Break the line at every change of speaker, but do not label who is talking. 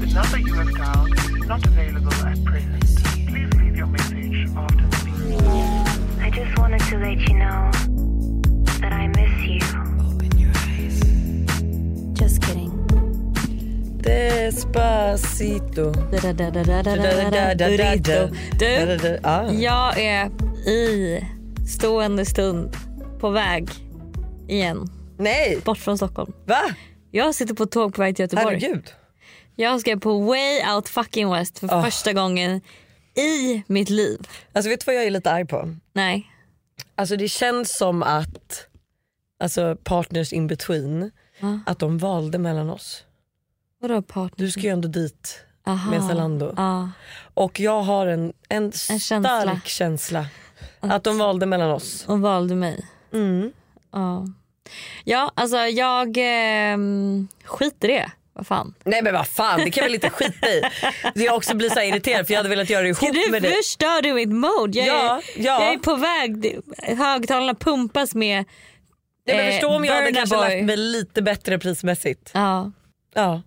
number dialed is not available at present. Please leave your message after the beep.
I just wanted to let you know that I miss you. Just kidding.
Despacito.
Burrito. Du,
Ah.
jag är i stående stund på väg igen,
Nej,
bort från Stockholm.
va?
Jag sitter på ett tåg på väg till Göteborg.
Herregud.
Jag ska på Way Out Fucking West för
Ah.
första gången i mitt liv.
Alltså vet du vad jag är lite arg på?
Nej.
Alltså det känns som att alltså partners in between,
Ja.
att de valde mellan oss.
Vadå partner?
Du ska ju ändå dit
Aha.
med Zalando.
Ja.
Och jag har en, en, stark
känsla.
känsla, att de valde mellan oss.
Och valde mig.
Mm.
Ja, ja alltså jag ehm, skiter i det. Vad fan.
Nej men vad fan, det kan jag väl inte skita i. Jag också blir så här irriterad för jag hade velat göra det
Ska
ihop
du,
med dig.
nu stör du mitt mode. Jag,
Ja,
är,
ja.
jag är på väg. Det- Högtalarna pumpas med...
Nej, men förstå om jag hade
eh, Burna
kanske
Boy.
lagt mig lite bättre prismässigt.
Ja.
Ja.